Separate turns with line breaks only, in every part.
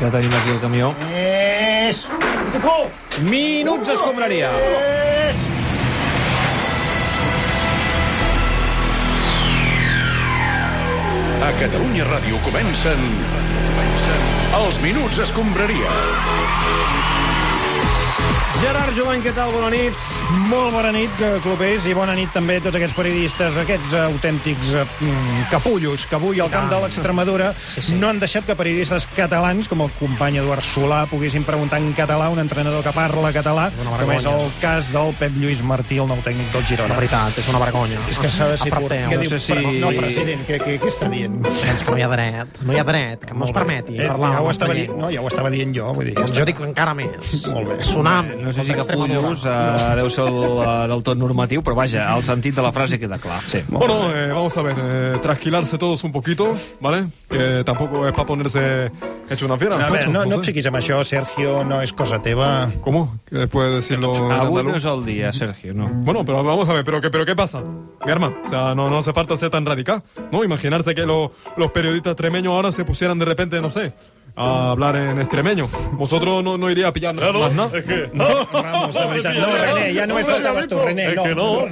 Ja tenim aquí el camió.
Més!
Minuts escombraria.
Més!
A Catalunya Ràdio comencen... comencen... Els Minuts Escombraria.
Gerard Jovany, què tal? Bona nit.
Molt bona nit, eh, clubers, i bona nit també a tots aquests periodistes, aquests eh, autèntics eh, mm, capullos que avui al camp de l'Extremadura no han deixat que periodistes catalans, com el company Eduard Solà, poguessin preguntar en català a un entrenador que parla català, com és el cas del Pep Lluís Martí, el nou tècnic del Girona.
veritat, és una vergonya.
És que s'ha de ser curt.
Aparteu.
Què
No
diu?
sé si-
Però- No, president, què, què, què està dient?
Doncs que no hi ha dret, no hi ha dret, que no es permeti
Eh,
parlar
ja, ho
la nostra
estava dient,
llengua.
no, ja ho estava dient jo, vull dir... ja
Jo
està.
dic encara més.
Molt bé.
Tsunami.
No sé si
contra
Capullos eh, deu ser el, eh, del tot normatiu, pero vaya, al sentit de la frase queda clar. Sí.
Bueno, eh, vamos a ver, eh, trasquilarse todos un poquito, ¿vale? Que tampoco es para ponerse hecho una fiera.
A veure,
Nacho,
no, Ah. no et
sé.
fiquis amb això, Sergio, no és cosa teva.
¿Cómo? ¿Que puede decirlo en
Avui
andaluz?
no és el dia, Sergio, no.
Bueno, pero vamos a ver, pero, que- pero ¿qué pasa? Mi arma, o sea, no, no hace falta ser tan radical, ¿no? Imaginarse que lo- los periodistas extremeños ahora se pusieran de repente, no sé, a hablar en extremeño. Vosotros no, no iría a pillar más nada.
No, Ramos, de veritat. No, René, ja només faltaves tu, René. No,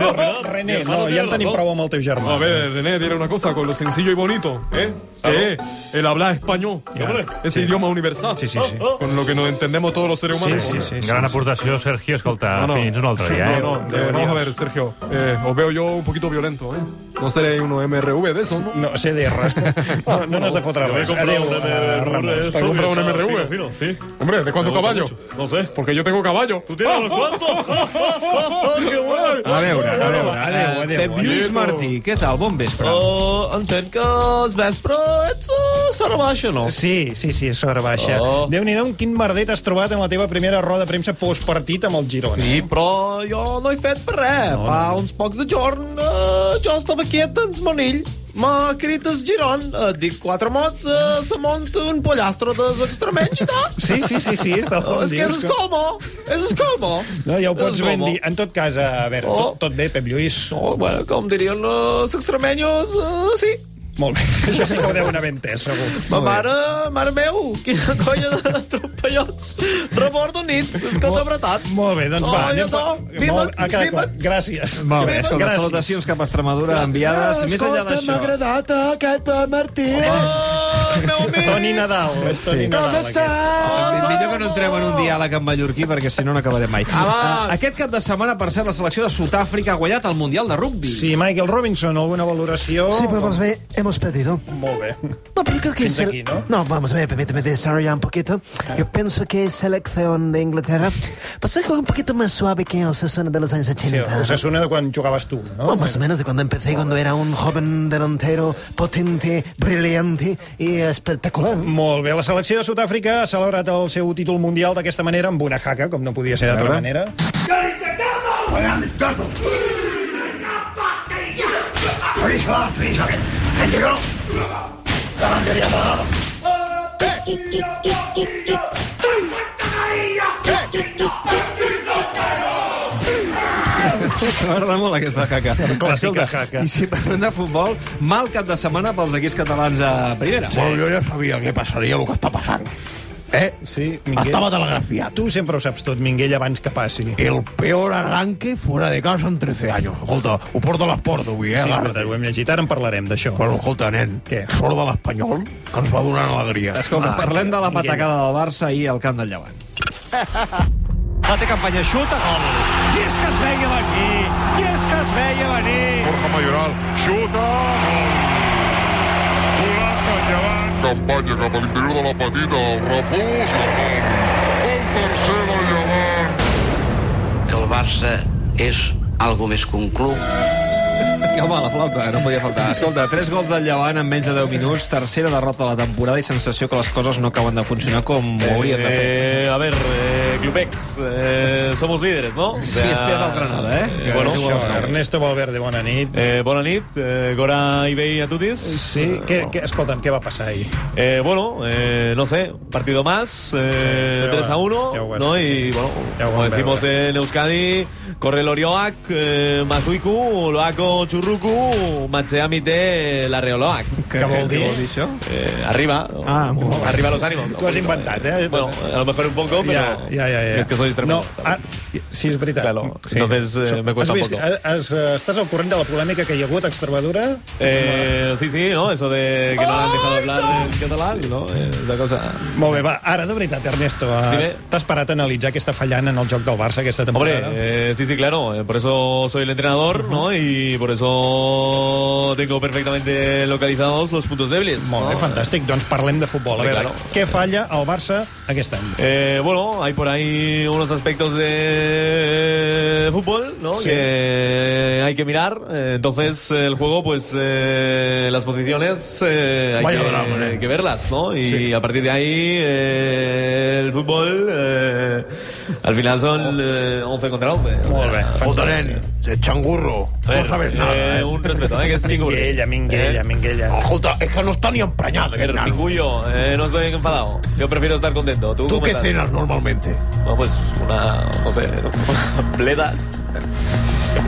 René, no, ja en tenim prou amb el teu
A
germà.
ver, René, dile una cosa, con lo sencillo y bonito, ¿eh? Que es el hablar español.
Ya.
Hombre, Es
Sí.
idioma universal.
Sí, sí, sí.
Con lo que nos entendemos todos los seres
Sí,
humanos.
sí, sí. sí.
Gran aportació, Sergio. Escolta,
No, no.
fins un altre dia, eh?
No, no, eh, vamos a ver, Sergio. eh, os veo yo un poquito violento, ¿eh? No seré uno MRV de eso, ¿no?
No, CDR. No, no n'has de fotre res. Adéu, eh, Ramos.
¿Te has comprado un MRV?
sí.
Hombre, ¿de cuánto caballo?
No sé.
Porque yo tengo caballo. Ah.
¿Tú tienes los cuantos? ¡Qué bueno!
A veure, a veure.
Adéu,
eh,
adéu,
Pep Lluís
adéu.
Martí, què tal? Bon vespre.
Oh, entenc que els vespre ets uh, sora baixa, no?
Sí, sí, sí, és sobre baixa.
Oh.
Déu-n'hi-do amb quin merder t'has trobat en la teva primera roda de premsa postpartit amb el Girona.
Sí, però jo no he fet per res. No, Fa uns pocs de jorn uh, jo estava quiet en el manill. M'ha crit el Giron, et dic quatre mots, uh, se monta un pollastre dels extremenys i tal. Oh,
Sí, sí, sí, sí, és del
És que és el colmo, és el colmo.
No, ja ho pots
És el
ben
colmo.
dir. En tot cas, a veure,
Oh.
tot, tot bé, Pep Lluís?
No, bueno, com dirien els extremenyos, uh, sí.
Molt bé. Això sí que ho deuen haver entès, segur.
Ma mare, mare meu, quina colla de trompellots rebordonits, és que t'ha apretat.
Molt bé, doncs va.
Oh,
anem
jo no.
per-
Viva-
Molt- ha quedat
viva-
clar. Gràcies.
Molt bé, escolta,
Gràcies.
salutacions cap a Extremadura enviades. Més enllà d'això...
agradat eh, aquest eh, Martí. Oh, meu amic!
Toni Nadal, és Toni Nadal.
Com
aquest.
estàs?
Millor que no entrem en un diàleg amb mallorquí perquè si no no acabarem mai.
Ah,
Ah, aquest cap de setmana, per cert, la selecció de Sud-àfrica ha guanyat el Mundial de Rugby.
Sí, Michael Robinson, alguna valoració?
Sí, pero vamos a ver, hemos perdido.
Molt bé.
No, pero creo que
Fins
es el-
aquí, ¿no? Ah.
vamos a ver, permíteme desarrollar un poquito. Yo pienso que selección de Inglaterra pasa algo un poquito más suave que Osasuna de los años
Sí,
80.
Osasuna de quan jugaves tu, no?
O más o menos de cuando empecé, cuando era un joven delantero potente, brillante y espectacular.
Molt bé, la selecció de Sud-àfrica ha celebrat el seu títol mundial d'aquesta manera amb una jaca, com no podia ser d'altra manera.
M'agrada molt aquesta jaca.
Clàssica
Escolta,
jaca.
I si parlem de futbol, mal cap de setmana pels equips catalans a primera. Sí.
Bueno, yo ya sabía que pasaría lo que está pasando. ¿Eh?
Sí,
Estaba
Minguell.
telegrafiado.
Tu sempre ho saps tot, Minguell, abans que passi.
El peor arranque fuera de casa en 13 años. Escolta, ho porto a les portes avui, eh?
Sí, és
Garraf?
veritat, ho hem llegit, ara en parlarem d'això.
Però escolta, nen,
Què?
sort de l'Espanyol, que ens va donar alegria.
Escolta,
Ah,
parlem de la
Miguel.
patacada del Barça i al camp del Llevant.
Va té campanya, xuta, gol. I és que es veia venir, i és que es veia venir.
Borja Mayoral, xuta! Golaç del llevant. Campanya cap a l'interior de la petita, el refús, el gol. Un tercer del llevant.
que el Barça és algo més que un club.
Que home, la flauta, no podia faltar. Escolta, tres gols del Llevant en menys de 10 minuts, tercera
eh,
derrota de la temporada i sensació que les coses no acaben de funcionar com ho haurien de fer.
Eh, a ver, eh, Clubex. Eh, somos líderes, ¿no?
Sí, espera al Granada, eh?
Eh, bueno,
Això, Ernesto Valverde, bona nit.
Eh, bona nit, eh, Gora Ibey a tutis.
Sí, què, què, escolta'm, què va passar ahir?
Eh, bueno, eh, no sé, un partido más, eh,
Sí, ya
3
va-
a 1,
ya va a
¿no?
ser,
Y
sí.
bueno,
Ya va
como
a ver,
decimos
va.
en Euskadi, corre Lorioak, eh, Mazuiku, Loaco Churruku, Matseamite, Larreoloac.
Què vol dir?
això? Eh, arriba, ah, arriba los ánimos.
T'ho has inventat, eh?
Bueno, a lo mejor un poco, pero
Ja, ja, ja, ja.
es que sois tremendo.
No, ah, sí, és veritat.
Claro, entonces, eh,
So-
me cuesta
has
un
vist-
poco.
Has, eh, estàs al corrent de la polèmica que hi ha hagut a Extremadura?
Eh, sí, sí, ¿no? Eso de que no le han dejado hablar en catalán, ¿no? Eh, Esa cosa...
Molt bé, va, ara, de veritat, Ernesto, eh,
Dime.
t'has parat a analitzar què està fallant en el joc del Barça aquesta temporada?
Hombre, eh, sí, sí, claro. eh, Por eso soy el entrenador, ¿no? Y por eso tengo perfectamente localizados los puntos débiles.
Molt bé,
¿no?
fantàstic. Doncs parlem de futbol. A
Hombre,
veure,
claro.
què falla el Barça aquest any?
Eh, bueno, hay por ahí unos aspectos de fútbol, ¿no?
Sí.
Que hay que mirar. Eh, Entonces, eh, el juego, pues, eh, las posiciones eh, hay
Vaya
que,
drama,
que verlas, ¿no? Y
Sí.
a partir de ahí, eh, el fútbol, eh, al final son eh, 11 contra 11.
Molt bé,
Puto
fantàstic.
nen, ets xangurro.
A ver,
No sabes nada,
eh,
eh?
Un respeto, ¿eh? Que es chingurri.
Minguella, minguella,
Eh,
minguella.
Escolta, és que no està ni emprenyat,
que
aquest nano.
Pinguyo, eh, no estoy enfadado. Yo prefiero estar contento. ¿Tú,
Tu
cómo
què
estás?
cenas normalmente?
No, pues una, no sé, bledas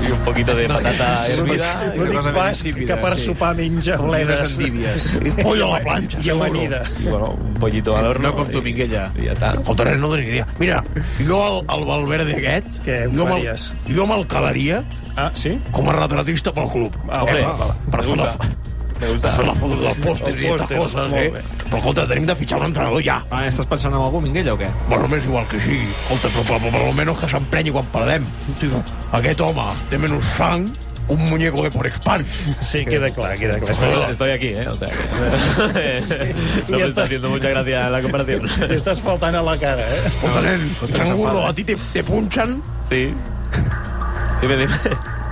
y un poquito de patata hervida.
Una
L'únic
cosa ben
basc
insípida,
que per
sí.
sopar menja bledes
endívies.
Pollo a la planxa,
i
seguro.
amanida.
Y bueno, un pollito al horno.
No com tu, Minguella.
Y ya está.
Escolta, res, no tenia idea. Mira, jo al, al Valverde aquest...
Què
jo me'l-
faries?
Jo me'l quedaria
Ah, sí?
com a retratista pel club. Eh,
Ah, hombre,
per
me
fer la,
gusta.
eh,
Me
per fer
gusta.
la foto dels pòsters
Els
i aquestes
pòsters,
coses,
molt
eh?
bé.
Però, escolta, tenim de fitxar un entrenador ja.
Ah, estàs pensant en algú, Minguella, o què?
Bueno, m'és igual que sigui. Escolta, però per, per, almenys que s'emprenyi quan perdem. Tio, aquest home té menys sang que un muñeco de por expans.
Sí, queda clar, queda clar.
Estoy-
Espera,
Estoy aquí, ¿eh? O sea, que- no me
está.
está haciendo mucha gracia la comparación.
li estàs faltant a la cara, eh?
Escolta, nen, xangurro, a ti te, te punxen
Sí. Sí, me dice.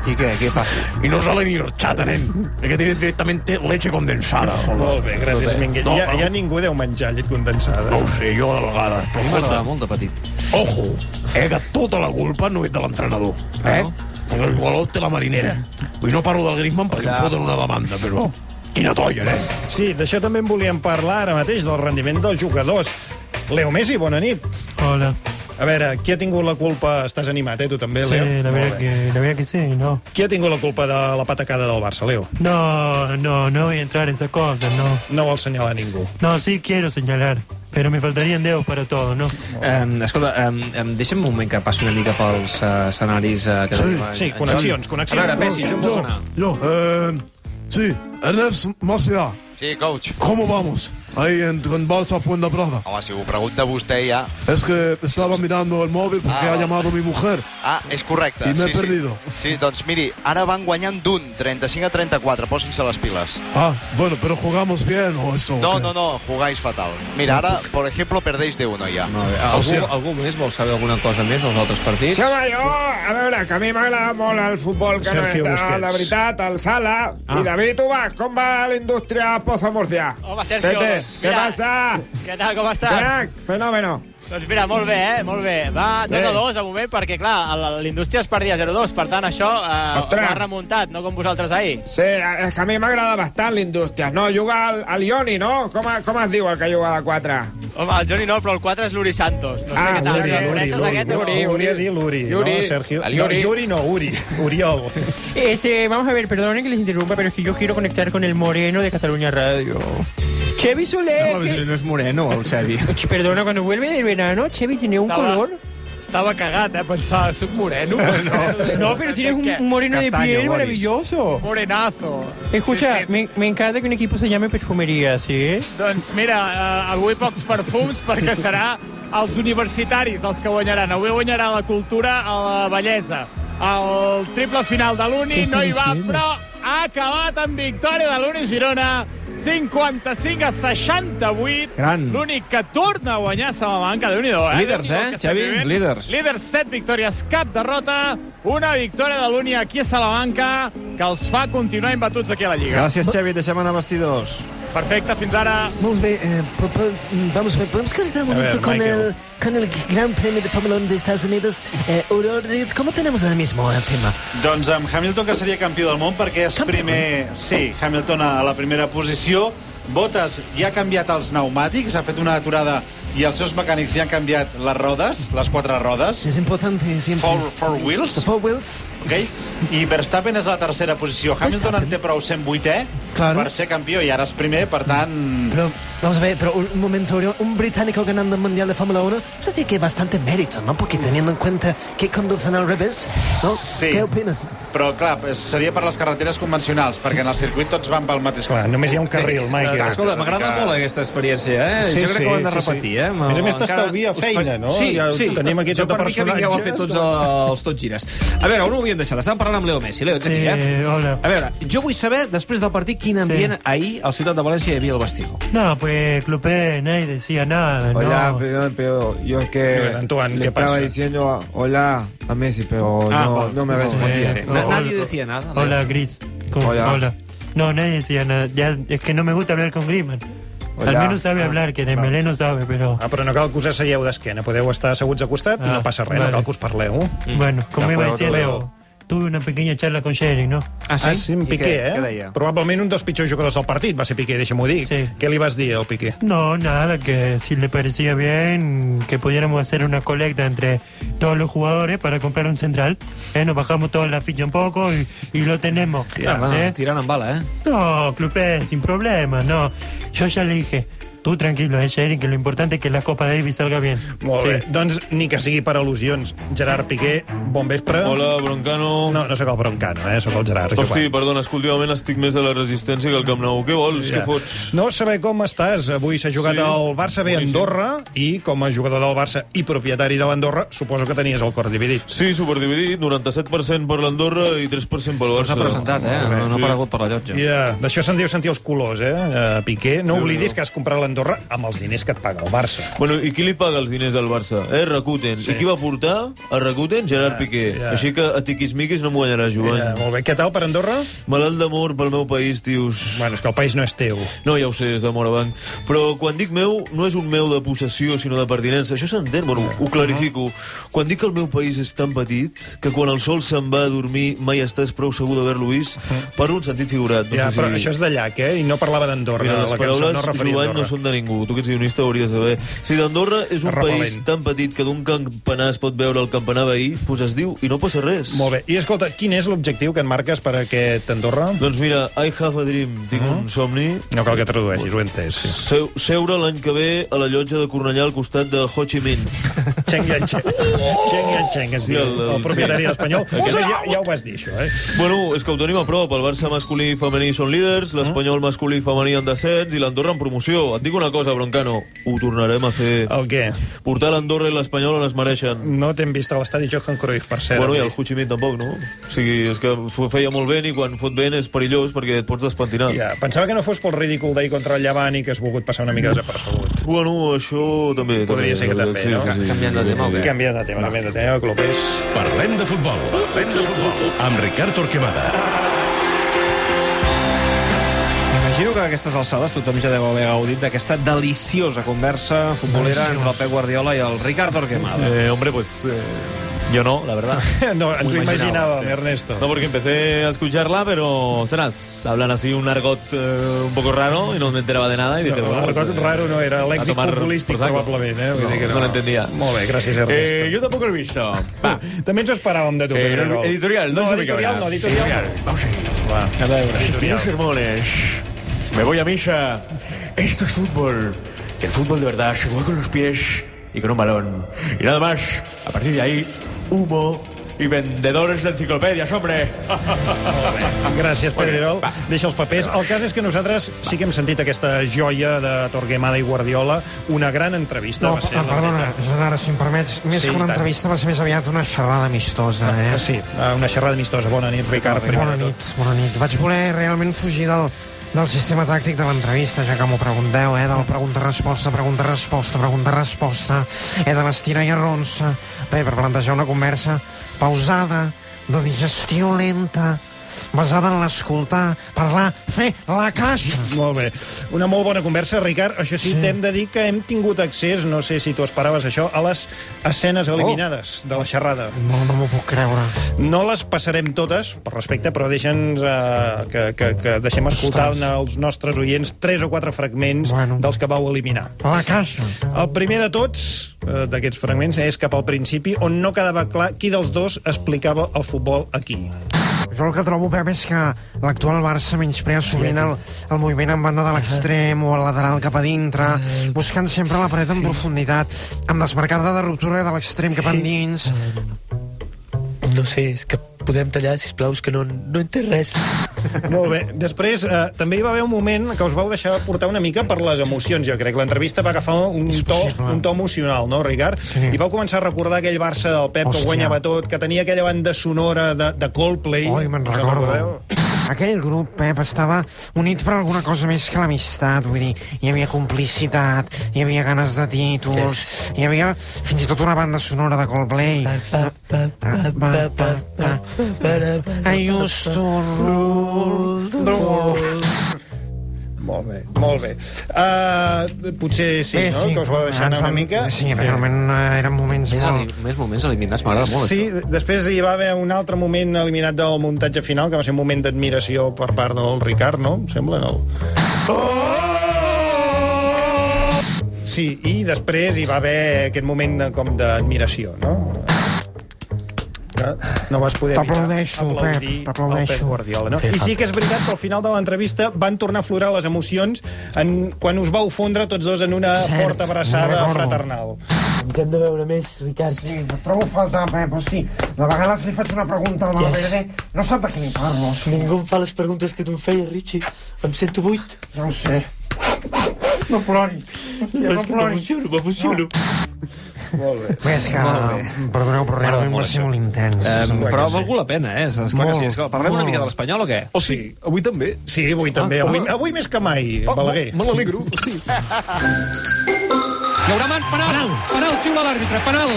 I què? Què passa?
i no sale ni horchata, nen. Aquest directament té leche condensada.
Molt bé, gràcies, Minguell.
No,
Ja,
però-
ja ningú deu menjar llet condensada.
No ho sé, jo de vegades. Però escolta,
M'agrada molt de petit.
ojo, eh, que tota la culpa no és de l'entrenador, eh? Perquè el valor té la marinera. Vull no parlo del Griezmann perquè em foten una demanda, però... Quina eh? tolla, nen.
Sí, d'això també en volíem parlar ara mateix, del rendiment dels jugadors. Leo Messi, bona nit.
Hola.
A veure, qui ha tingut la culpa... Estàs animat, eh, tu també, Leo?
Sí, la
Molt
verdad,
bé.
que, la verdad que sí, ¿no?
Qui ha tingut la culpa de la patacada del Barça, Leo?
No, no, no voy a entrar en esas cosas, no.
No vol señalar ningú.
No, sí quiero señalar, pero me faltarían dedos para todo, ¿no?
Em,
Um, escolta, um, um, deixa'm un moment que passi una mica pels uh, escenaris uh, que tenim.
Sí, connexions,
A veure,
connexions.
Messi, jo em puc anar.
Yo, eh... Sí, Ernest Macià,
Sí, coach.
¿cómo vamos? Ahí en, en Balsa Fuenlabrada.
Home, si ho pregunta vostè ja...
Es que estaba mirando el móvil porque
Ah.
ha llamado mi mujer.
Ah, és correcte.
I m'he perdido.
Sí. sí, doncs miri, ara van guanyant d'un, 35 a 34, posin-se les piles.
Ah, bueno, pero jugamos bien o eso.
No,
¿o qué?
no, no, jugáis fatal. Mira, ara, por ejemplo, perdéis de uno ja.
Molt bé. Algú, algú més vol saber alguna cosa més dels altres partits?
Home, jo, a veure, que a mi m'agrada molt el futbol que
Sergio
no és de,
Busquets.
la veritat, el Sala.
Ah.
Ah. I David Ubas, com va l'indústria Pozo Murcia?
Home, Sergio, doncs,
què
mira.
passa?
Què tal, com
Crac, fenòmeno.
Doncs mira, molt bé, eh? Molt bé. Va
Sí. 2 a
2 de moment, perquè, clar, l'indústria es perdia 0-2, per tant, això eh,
Ostres. ha
remuntat, no com vosaltres ahir.
Sí, és que a mi m'agrada bastant l'indústria. No, juga al, al Ioni, no? Com, com es diu el que juga de 4?
Home, el Joni no, però el 4 és Luri Santos. No
Ah,
sé què tal.
Luri,
el
Luri,
coneixes,
Luri.
aquest, eh? o
Uri,
no?
volia dir l'Uri,
Uri.
no, Sergio?
El
No,
Uri.
Yuri no, Uri. Uriol.
Este, vamos a ver, perdonen que les interrumpa, pero es que yo quiero conectar con el Moreno de Cataluña Radio. Chevy Solé, que-
no és moreno, el Xavi.
Ch, perdona, cuando vuelve del verano, Chevy tiene un color...
Estava cagat, eh? Pensava, soc moreno. No,
No, pero tienes un, un moreno
Castaño,
de piel
Boris.
maravilloso.
Morenazo.
Escucha, Me, me encanta que un equipo se llame Perfumería, ¿sí?
Doncs mira, eh, avui pocs perfums perquè serà els universitaris els que guanyaran. Avui guanyarà la cultura a la bellesa. El triple final de l'Uni
Què
no hi va,
estàs dient?
però ha acabat amb victòria de l'Uni Girona. 55 a 68.
Gran.
L'únic que torna a guanyar Salamanca, de nhi do eh?
Líders,
Déu-n'hi-do
eh,
que estem
Xavi?
vivint.
Líders.
Líders, 7 victòries, cap derrota. Una victòria de l'Uni aquí a Salamanca que els fa continuar imbatuts aquí a la Lliga.
Gràcies, Xavi. Deixem anar vestidors.
Perfecte, fins ara.
Muy bien, eh, po- po- vamos a ver, ¿podemos conectar
A
un
ver,
momento con,
Michael.
el, con el Gran Premio de Fórmula 1 de Estados Unidos? Eh, Aurora, ¿Cómo tenemos ahora mismo el tema?
Doncs amb Hamilton, que seria campió del món, perquè és primer... Sí, Hamilton a la primera posició. Bottas ja ha canviat els pneumàtics, ha fet una aturada i els seus mecànics ja han canviat les rodes, les quatre rodes.
Es importante siempre.
Four, four wheels.
Four wheels.
Okay? I Verstappen és a la tercera posició. Hamilton en té prou 108è
Claro.
per ser campió i ara és primer, per tant...
Pero, vamos a ver, pero un, un momento, Oriol, un británico ganando el Mundial de Fórmula 1, eso tiene que bastante mérito, ¿no? Porque teniendo en cuenta que conducen al revés, ¿no?
Sí.
¿Qué opinas?
Però, clar, seria per les carreteres convencionals, perquè en el circuit tots van pel mateix
Clar, només hi ha un carril, Michael.
Exacte,
Escolta,
és una
m'agrada
mica-
molt aquesta experiència, eh?
Sí,
jo crec
sí,
que ho hem de
sí, sí.
repetir,
A
eh?
més a més,
Encara
t'estalvia
us fa-
feina, no?
Sí,
Ja
sí.
tenim aquí
jo
tot de
per mi que vingueu a fer
personatges,
tots
clar.
els tot gires. A veure, on ho havíem deixat? Estàvem parlant amb Leo Messi. Leo, ets
Sí,
aquí, eh?
hola.
A veure, jo vull saber, després del partit, quin
Sí.
ambient ahir al Ciutat de València hi havia al vestíbul.
No, pues Clopé nadie decía nada.
Hola,
no.
perdón, pero yo es que
Pero, Antoine,
le
¿qué
estaba
pasa?
diciendo a- hola a Messi, pero
Ah,
no,
bueno,
no me
no,
respondía.
eh, Na- nadie hola.
decía nada.
Hola, Gris. ¿Cómo?
Hola.
No, nadie decía nada. Ya, es que no me gusta hablar con Griezmann. Al
Hola.
menos sabe hablar, que Dembélé no sabe, pero...
Ah, però no cal que us asseieu d'esquena. Podeu estar asseguts a costat i
Oh. Ah,
no passa res,
vale. Mm.
no cal que us parleu.
Bueno, como iba
D'acord,
diciendo,
Leo.
tuve una pequeña charla con Sherry, ¿no?
Ah, sí? Ah, sí, en
I
Piqué,
què-
eh?
què deia?
Probablement un dels pitjors jugadors del partit va ser Piqué, deixa'm-ho dir. Sí. Què li vas dir al Piqué?
No, nada, que si le parecía bien que pudiéramos hacer una colecta entre todos los jugadores para comprar un central. Eh, nos bajamos toda la ficha un poco y, y lo tenemos.
Tira,
¿eh?
va, tirant amb bala, eh?
No, Clupé, sin problema, no. Yo ya le dije, tú tranquilo, eh, Sherry, que lo importante es que la Copa Davis salga bien.
Molt
Sí.
bé. Doncs ni que sigui per al·lusions. Gerard Piqué, bon vespre.
Hola, Broncano.
No, no sóc el Broncano, eh? Sóc el Gerard. és
Hosti,
igual.
perdona, és que últimament estic més de la resistència que el Camp Nou. Què vols?
Ja.
Què fots?
No saber com estàs. Avui s'ha jugat
Sí.
sí. el Barça B a Andorra i com a jugador del Barça i propietari de l'Andorra suposo que tenies el cor dividit.
Sí, superdividit, 97% per l'Andorra i 3% pel Barça.
s'ha presentat, eh? No- no ha aparegut
per la llotja.
Yeah. D'això se'n diu sentir els colors, eh, eh, Piqué? No oblidis que has comprat l'Andorra amb els diners que et paga el Barça.
Bueno, i qui li paga els diners al Barça? Eh, Rakuten. Sí. I qui va portar a Rakuten? Gerard Piqué.
ja.
Així que a tiquis-miquis no m'ho guanyarà, Joan.
Ja, Eh, molt bé. Què tal per Andorra?
Malalt d'amor pel meu país, tios.
Bueno, és que el país no és teu.
No, ja ho sé, és d'amor a banc. Però quan dic meu, no és un meu de possessió, sinó de pertinença. Això s'entén, bueno, ho clarifico. Quan dic que el meu país és tan petit que quan el sol se'n va a dormir mai estàs prou segur d'haver-lo vist, per un sentit figurat. No
Ja,
sé si...
però això és de llac, eh? I no parlava d'Andorra,
Mira, les
la cançó
paraules,
no es referia a
Joan, no
Andorra.
són de ningú. Tu que ets guionista ho hauries de saber. Si d'Andorra és un
És repel·lent.
país tan petit que d'un campanar es pot veure el campanar veí, doncs es diu i no passa res.
Molt bé. I escolta, quin és l'objectiu que et marques per a aquest Andorra?
Doncs mira, I have a dream, tinc un somni.
No cal que tradueixis, ho he entès. Sí.
Seu, seure l'any que ve a la llotja de Cornellà al costat de Ho Chi Minh.
Cheng Yan Cheng. Cheng Yan Cheng, es diu,
Sí, el-
el,
el-
propietari
sí.
espanyol.
Aquest-
Ja, ja ho vas dir, això, eh?
Bueno, és que ho tenim a prop. El Barça masculí i femení són líders, l'Espanyol masculí i femení en descens i l'Andorra en promoció. Et dic una cosa, Broncano, ho tornarem a fer.
El què?
Portar l'Andorra i l'Espanyol on es mereixen.
No t'hem vist a l'estadi Johan Cruyff, per cert.
Bueno, i el Ho Chi Minh tampoc, no? O sigui, és que ho feia molt vent i quan fot vent és perillós perquè et pots despentinar.
Ja, pensava que no fos pel ridícul d'ahir contra el Llevant i que has volgut passar una mica desapercebut.
Bueno, això també...
Podria ser que també,
sí,
no?
Sí, sí,
Canviant de tema, canviant de tema, Clopés.
Parlem de futbol. Parlem de futbol. Amb Ricard Torquemada.
Imagino que a aquestes alçades tothom ja deu haver gaudit d'aquesta deliciosa conversa futbolera entre el Pep Guardiola i el Ricard Torquemada.
Eh, hombre, pues... Eh, yo no, la verdad.
no,
ens ho imaginàvem,
Ernesto.
No, porque empecé a escucharla, pero, serás, hablan así un argot eh, un poco raro y no me enteraba de nada. Y dije,
No,
bueno, pues,
l'argot
eh,
raro no era
a
l'èxit
tomar
futbolístic,
por saco.
probablement, eh? Vull
No,
dir que
no lo entendía. Eh,
Molt bé, gràcies,
Eh,
Ernesto.
yo tampoco lo he visto.
Va, també ens ho esperàvem de tu,
Eh,
Pedrerol.
no, editorial, no,
no
se me
editorial,
cabra.
no, editorial.
Vamos a ir.
Va, a veure.
Mis sermones. Me voy a misa. Esto es fútbol. Y el fútbol de verdad se juega con los pies y con un balón. Y nada más. A partir de ahí, humo y vendedores de enciclopedias, hombre.
Gràcies, Pedrerol. Deixa els papers. El cas és que nosaltres sí que hem sentit aquesta joia de Torquemada i Guardiola. Una gran entrevista
No,
va ser.
ah, perdona, Gerard, si em permets, més
Sí,
que una
i tant.
entrevista va ser més aviat una xerrada amistosa, eh?
Sí, eh, una xerrada amistosa. Bona nit, Ricard. primer
Bona
de tot.
nit, bona nit. Vaig voler realment fugir del, del sistema tàctic de l'entrevista, ja que m'ho pregunteu, eh? Del pregunta-resposta, pregunta-resposta, pregunta-resposta, eh? De l'estirar i arronsa, bé, per plantejar una conversa pausada, de digestió lenta, basada en l'escoltar, parlar, fer la caixa.
Molt bé. Una molt bona conversa, Ricard. Això sí, sí. t'hem de dir que hem tingut accés, no sé si t'ho esperaves això, a les escenes eliminades oh. de la xerrada.
No, no m'ho puc creure.
No les passarem totes, per respecte, però deixa'ns eh, que, que, que deixem escoltar
Ostres.
als nostres oients tres o quatre fragments bueno. dels que vau eliminar.
La caixa.
El primer de tots eh, d'aquests fragments és cap al principi, on no quedava clar qui dels dos explicava el futbol aquí.
Jo el que trobo, Pep, és que l'actual Barça menysprea sovint el, el moviment en banda de l'extrem o el lateral cap a dintre, buscant sempre la paret en profunditat, amb desmarcada de ruptura de l'extrem cap endins.
No sé, és que podem tallar, sisplau, és que no, no en té res.
Molt bé. Després, eh, també hi va haver un moment que us vau deixar portar una mica per les emocions, jo crec. L'entrevista va agafar un to, un to emocional, no, Ricard? Sí. I vau començar a recordar aquell Barça del Pep Hòstia.
Hòstia.
que guanyava tot, que tenia aquella banda sonora de, de Coldplay.
Oi, me'n
Us en recordeu?
recordo. Aquell grup, Pep, estava unit per alguna cosa més que l'amistat, vull dir, hi havia complicitat, hi havia ganes de títols, hi havia fins i tot una banda sonora de Coldplay. Ah, I used to rule the world.
Molt bé, molt bé. Uh, potser sí,
Bé,
no? Que us vau deixar
Eh, ens
anar una
vam-
mica.
Sí, realment eh, eren moments
Més,
molt...
eli, més moments eliminats, m'agrada molt.
Sí, després hi va haver un altre moment eliminat del muntatge final, que va ser un moment d'admiració per part del Ricard, no? Em sembla, no? Sí, i després hi va haver aquest moment eh, com d'admiració, no? Que No vas poder evitar
T'aplaudeixo, Pep,
aplaudir el
t'aplaudeixo.
Pep Guardiola, no? I sí que és veritat que al final de l'entrevista van tornar a aflorar les emocions en, quan us vau fondre tots dos en una
Cert,
forta abraçada
me'n recordo.
fraternal.
Ens hem de veure més, Ricard. Sí, et trobo a faltar, Pep. Hosti, de vegades li faig una pregunta al Valverde, no sap de què li parlo.
Ningú em fa les preguntes que tu em feies, Richie. Em sento buit.
No ho sé. No ploris.
No, és que m'emociono, m'emociono.
Molt bé.
Bé, és que, perdoneu, però realment va ser molt intens.
Eh, però ha valgut la pena, eh? És, és clar que sí. És clar. Parlem una mica de l'espanyol o què?
O sigui, avui també? Oh, Sí, avui també.
Ah,
avui,
ah.
avui més que mai,
Oh,
Balaguer.
me- me n'alegro. Hi haurà mans, penal, penal, penal xiula l'àrbitre, penal.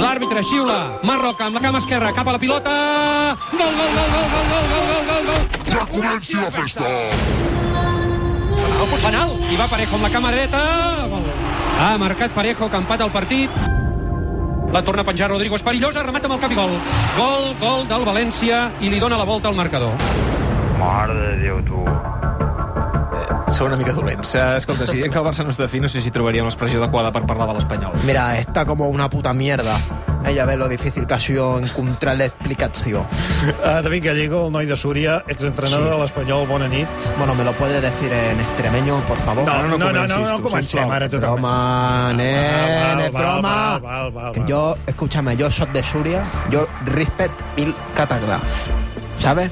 L'àrbitre xiula, Marroca amb la cama esquerra, cap a la pilota. Gol, gol, gol, gol, gol, gol, gol, gol, gol, gol.
¡Ya comienza la fiesta!
Penal, penal, i va Parejo amb la cama dreta. Gol. Ha marcat Parejo, que ha empat el partit. La torna a penjar Rodrigo, és perillosa, remata amb el cap i gol. Gol, gol del València i li dona la volta al marcador.
Mare de Déu, tu.
Són Eh, una mica dolents. Escolta, si diem que el Barça no es fi, no sé si trobaríem l'expressió adequada per parlar de l'Espanyol.
Mira, está como una puta mierda. Ella ve lo difícil que ha sido encontrar la explicación.
Uh, David Gallego, el noi de Súria, exentrenador
Sí.
de l'Espanyol, bona nit.
Bueno, ¿me lo puedes decir en extremeño, por favor?
No, no, no, no, no, no, no comencem ara totalment.
Broma,
val, val,
nene, broma.
val, val, val,
que
val.
yo, escúchame, yo soy de Suria, yo respect mil catagras. ¿Sabes?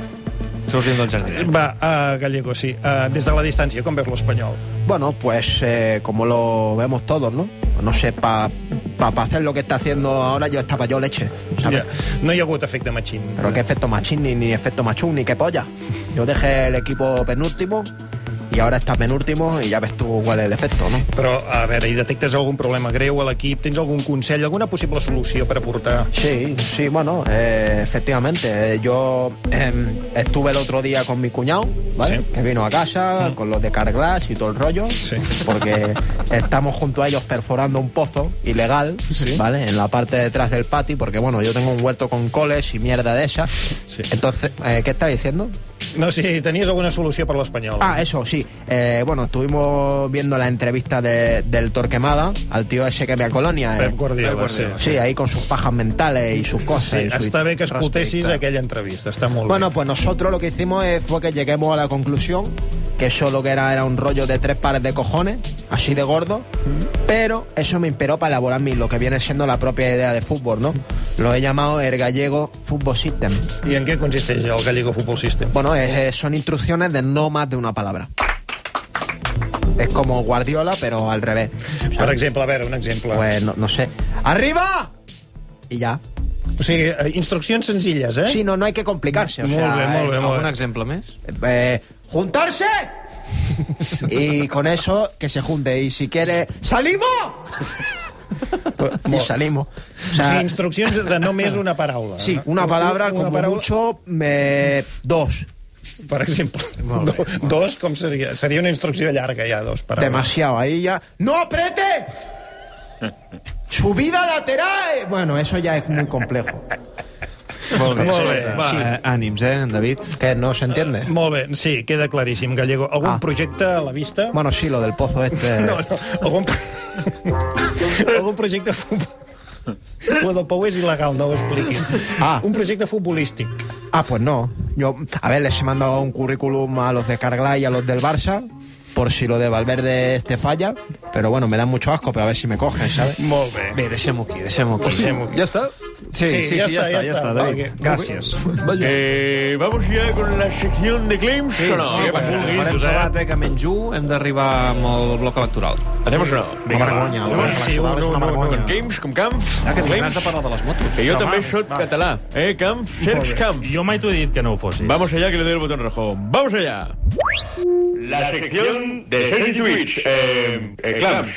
Sortint del jardí.
Va, uh, Gallego, sí. Uh, des de la distància, com veus l'Espanyol?
Bueno, pues eh, como lo vemos todos, ¿no? No sé, para pa, pa hacer lo que está haciendo ahora yo estaba yo leche, ¿sabes?
No hi ha hagut efecte machín.
Pero qué efecto machín, ni, ni efecto machún, ni qué polla. Yo dejé el equipo penúltimo y ahora está penúltimo y ya ves tú cuál es el efecto, ¿no?
Però, a veure, hi detectes algun problema greu a l'equip? Tens algun consell, alguna possible solució per aportar?
Sí, sí, bueno, eh, efectivamente. eh, Yo em, estuve el otro día con mi cuñado, ¿vale? Que vino a casa con los de Carglass y todo el rollo. Porque estamos junto a ellos perforando un pozo ilegal, ¿vale? En la parte de detrás del patio, porque bueno, yo tengo un huerto con coles y mierda de esas. Entonces, eh, ¿qué estás diciendo?
No, si tenies alguna solució per l'Espanyol.
Ah, eso, sí. Eh, bueno, estuvimos viendo la entrevista de- del Torquemada al tío ese que me a Colonia. eh.
Pep Guardiola, sí,
Sí, ahí con sus pajas mentales y sus cosas.
Sí,
y su-
està bé que escoltessis aquella entrevista, està molt
Bueno, pues nosotros lo que hicimos eh, fue que lleguemos a la conclusión que eso lo que era era un rollo de tres pares de cojones, así de gordo, pero eso me inspiró para elaborar mi, lo que viene siendo la propia idea de fútbol, ¿no? Lo he llamado el gallego Football System.
bé. I en què consisteix el Gallego Football System?
Bueno, es- eh, son instrucciones de no más de una palabra. Es como Guardiola, pero al revés.
Per exemple, a veure, un exemple.
Pues no, no sé. ¡Arriba! Y ya.
O sigui, eh, instruccions senzilles, eh?
Sí, no, no hay que complicarse. o
Molt
sea,
bé, molt bé,
eh,
molt bé.
exemple més?
Eh, ¡Juntarse! y con eso, que se junte. Y si quiere, ¡salimos! y salimos.
O sigui, Pues, instruccions de només una paraula.
eh, Sí,
no?
una palabra,
Una
como
paraula.
mucho, eh, dos.
Per exemple. Do, dos, com seria? Seria una instrucció llarga, ja, dos paraules.
Demasiado, ahí ya... ¡No apriete! ¡Subida lateral! Bueno, eso ya es muy complejo.
Molt bé, Molt bé, va.
Eh, ànims, eh, David? Que no s'entiende.
Eh, Molt bé, sí, queda claríssim, Gallego. Algun ah. projecte a la vista?
Bueno, sí, lo del pozo este...
No, no, algun, algun projecte futbol... Lo del Pou és il·legal, no ho expliquis.
Ah.
Un projecte futbolístic.
Ah, pues no. Yo, a ver, les he mandado un currículum a los de Carglass y a los del Barça, por si lo de Valverde este falla. Pero bueno, me dan mucho asco, pero a ver si me cogen, ¿sabes?
Molt bé.
Bé, deixem-ho aquí, deixem-ho aquí.
¿Ya está?
Sí, sí, sí, ya, está, ya está, David.
Vale.
Gracias.
Eh, ¿Vamos ya con la sección de claims
Sí,
o no?
sí,
¿Qué
quan
pasa?
farem salat, eh, que menys un, hem d'arribar amb el bloc electoral.
Hacemos una. Vinga, va.
Sí, un, un, un, un.
Con Games, con Camp.
Ja Ah, que
Claims.
t'agrada de parlar de les motos.
Que yo
Home,
también soy
va.
catalán. Eh, Camp, Serx Camp.
Yo mai t'ho he dit que no ho fossis.
Vamos allá, que le doy el botón rojo. Vamos allá. La sección de Sergi Twitch. Eh, eh, Clams.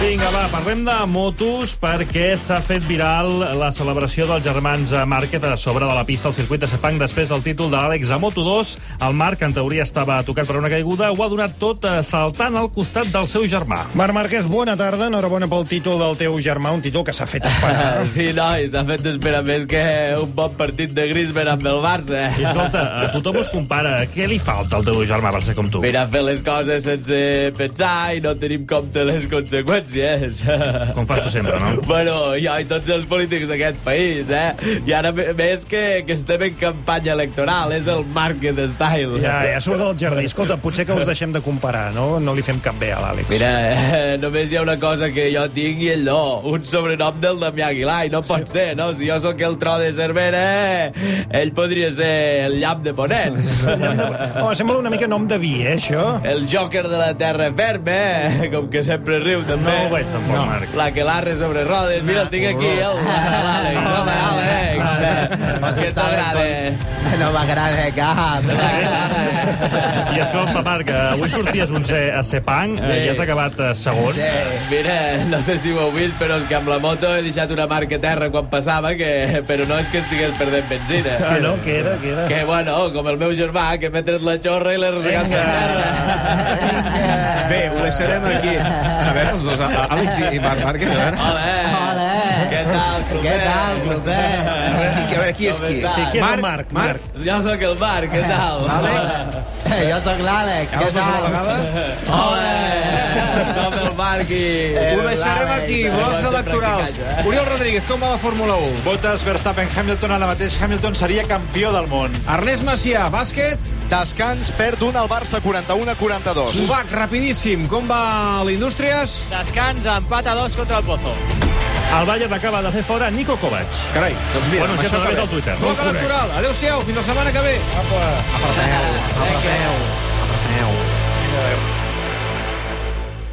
Vinga, va, parlem de motos perquè s'ha fet viral la celebració dels germans Márquez a sobre de la pista al circuit de Sepang després del títol de l'Àlex a Moto2. El Marc, en teoria, estava tocat per una caiguda, ho ha donat tot eh, saltant al costat del seu germà.
Marc Márquez, bona tarda, enhorabona pel títol del teu germà, un títol que s'ha fet esperar.
Sí, nois, ha fet esperar més que un bon partit de Griezmann amb el Barça.
I escolta, eh, tothom us compara. Què li falta al teu germà per ser com tu?
Mira, fer les coses sense pensar i no tenim compte les conseqüències.
Com fas tu sempre, no?
Bueno, jo i tots els polítics d'aquest país, eh? I ara me- més que, que estem en campanya electoral, és el market style.
Ja, ja surt del jardí. Escolta, potser que us deixem de comparar, no? No li fem cap bé a l'Àlex.
Mira, eh, només hi ha una cosa que jo tinc i ell no, un sobrenom del Damià Aguilar, i no pot sí. ser, no? Si jo sóc el tro de Cervera, eh, ell podria ser el llamp de Ponent.
Home, sembla una mica nom de vi, eh, això?
El Joker de la terra ferma, eh? Com que sempre riu, també. No ho veig,
tampoc, no. Marc.
La que l'arre sobre rodes. Mira, el tinc aquí, el l'Àlex. Home, Àlex, què t'agrada?
No m'agrada cap.
I escolta, Marc, eh, avui sorties un C a Sepang eh,
Sí.
i has acabat eh, segon.
Sí, mira, no sé si ho heu vist, però és que amb la moto he deixat una marca a terra quan passava, que... però no és que estigués perdent benzina.
Ah, no? Què era, què era?
Que, bueno, com el meu germà, que m'he tret la xorra i l'he resegat per terra.
Bé, ho deixarem aquí. A veure, els dos, a- a- Àlex i- i Marc Márquez, a veure.
Hola. Hola. Què tal, Clotet? Què tal, Clotet? A
veure, qui- a veure, qui és qui? Sí, qui és el Marc? Marc.
Jo sóc el Marc, què tal?
Àlex? Eh,
Jo sóc l'Àlex,
què tal?
Hola. Som el Marc i...
Ho deixarem aquí, blocs electorals.
Oriol Rodríguez, com va la Fórmula 1? Botes, Verstappen, Hamilton, ara mateix Hamilton seria campió del món.
Ernest Macià, bàsquet.
Descans, perd un al Barça, 41 a 42.
Subac, rapidíssim, com va l'Indústries?
Descans, empat a dos contra el Pozo.
El Bayern acaba de fer fora Nico Kovac.
Carai, doncs mira,
Bueno,
amb
ja
això
t'agrada
acabem.
el Twitter.
Bloc
Correcte.
electoral, adeu-siau, fins la setmana que ve. Apa. Apreteu, apreteu, apreteu.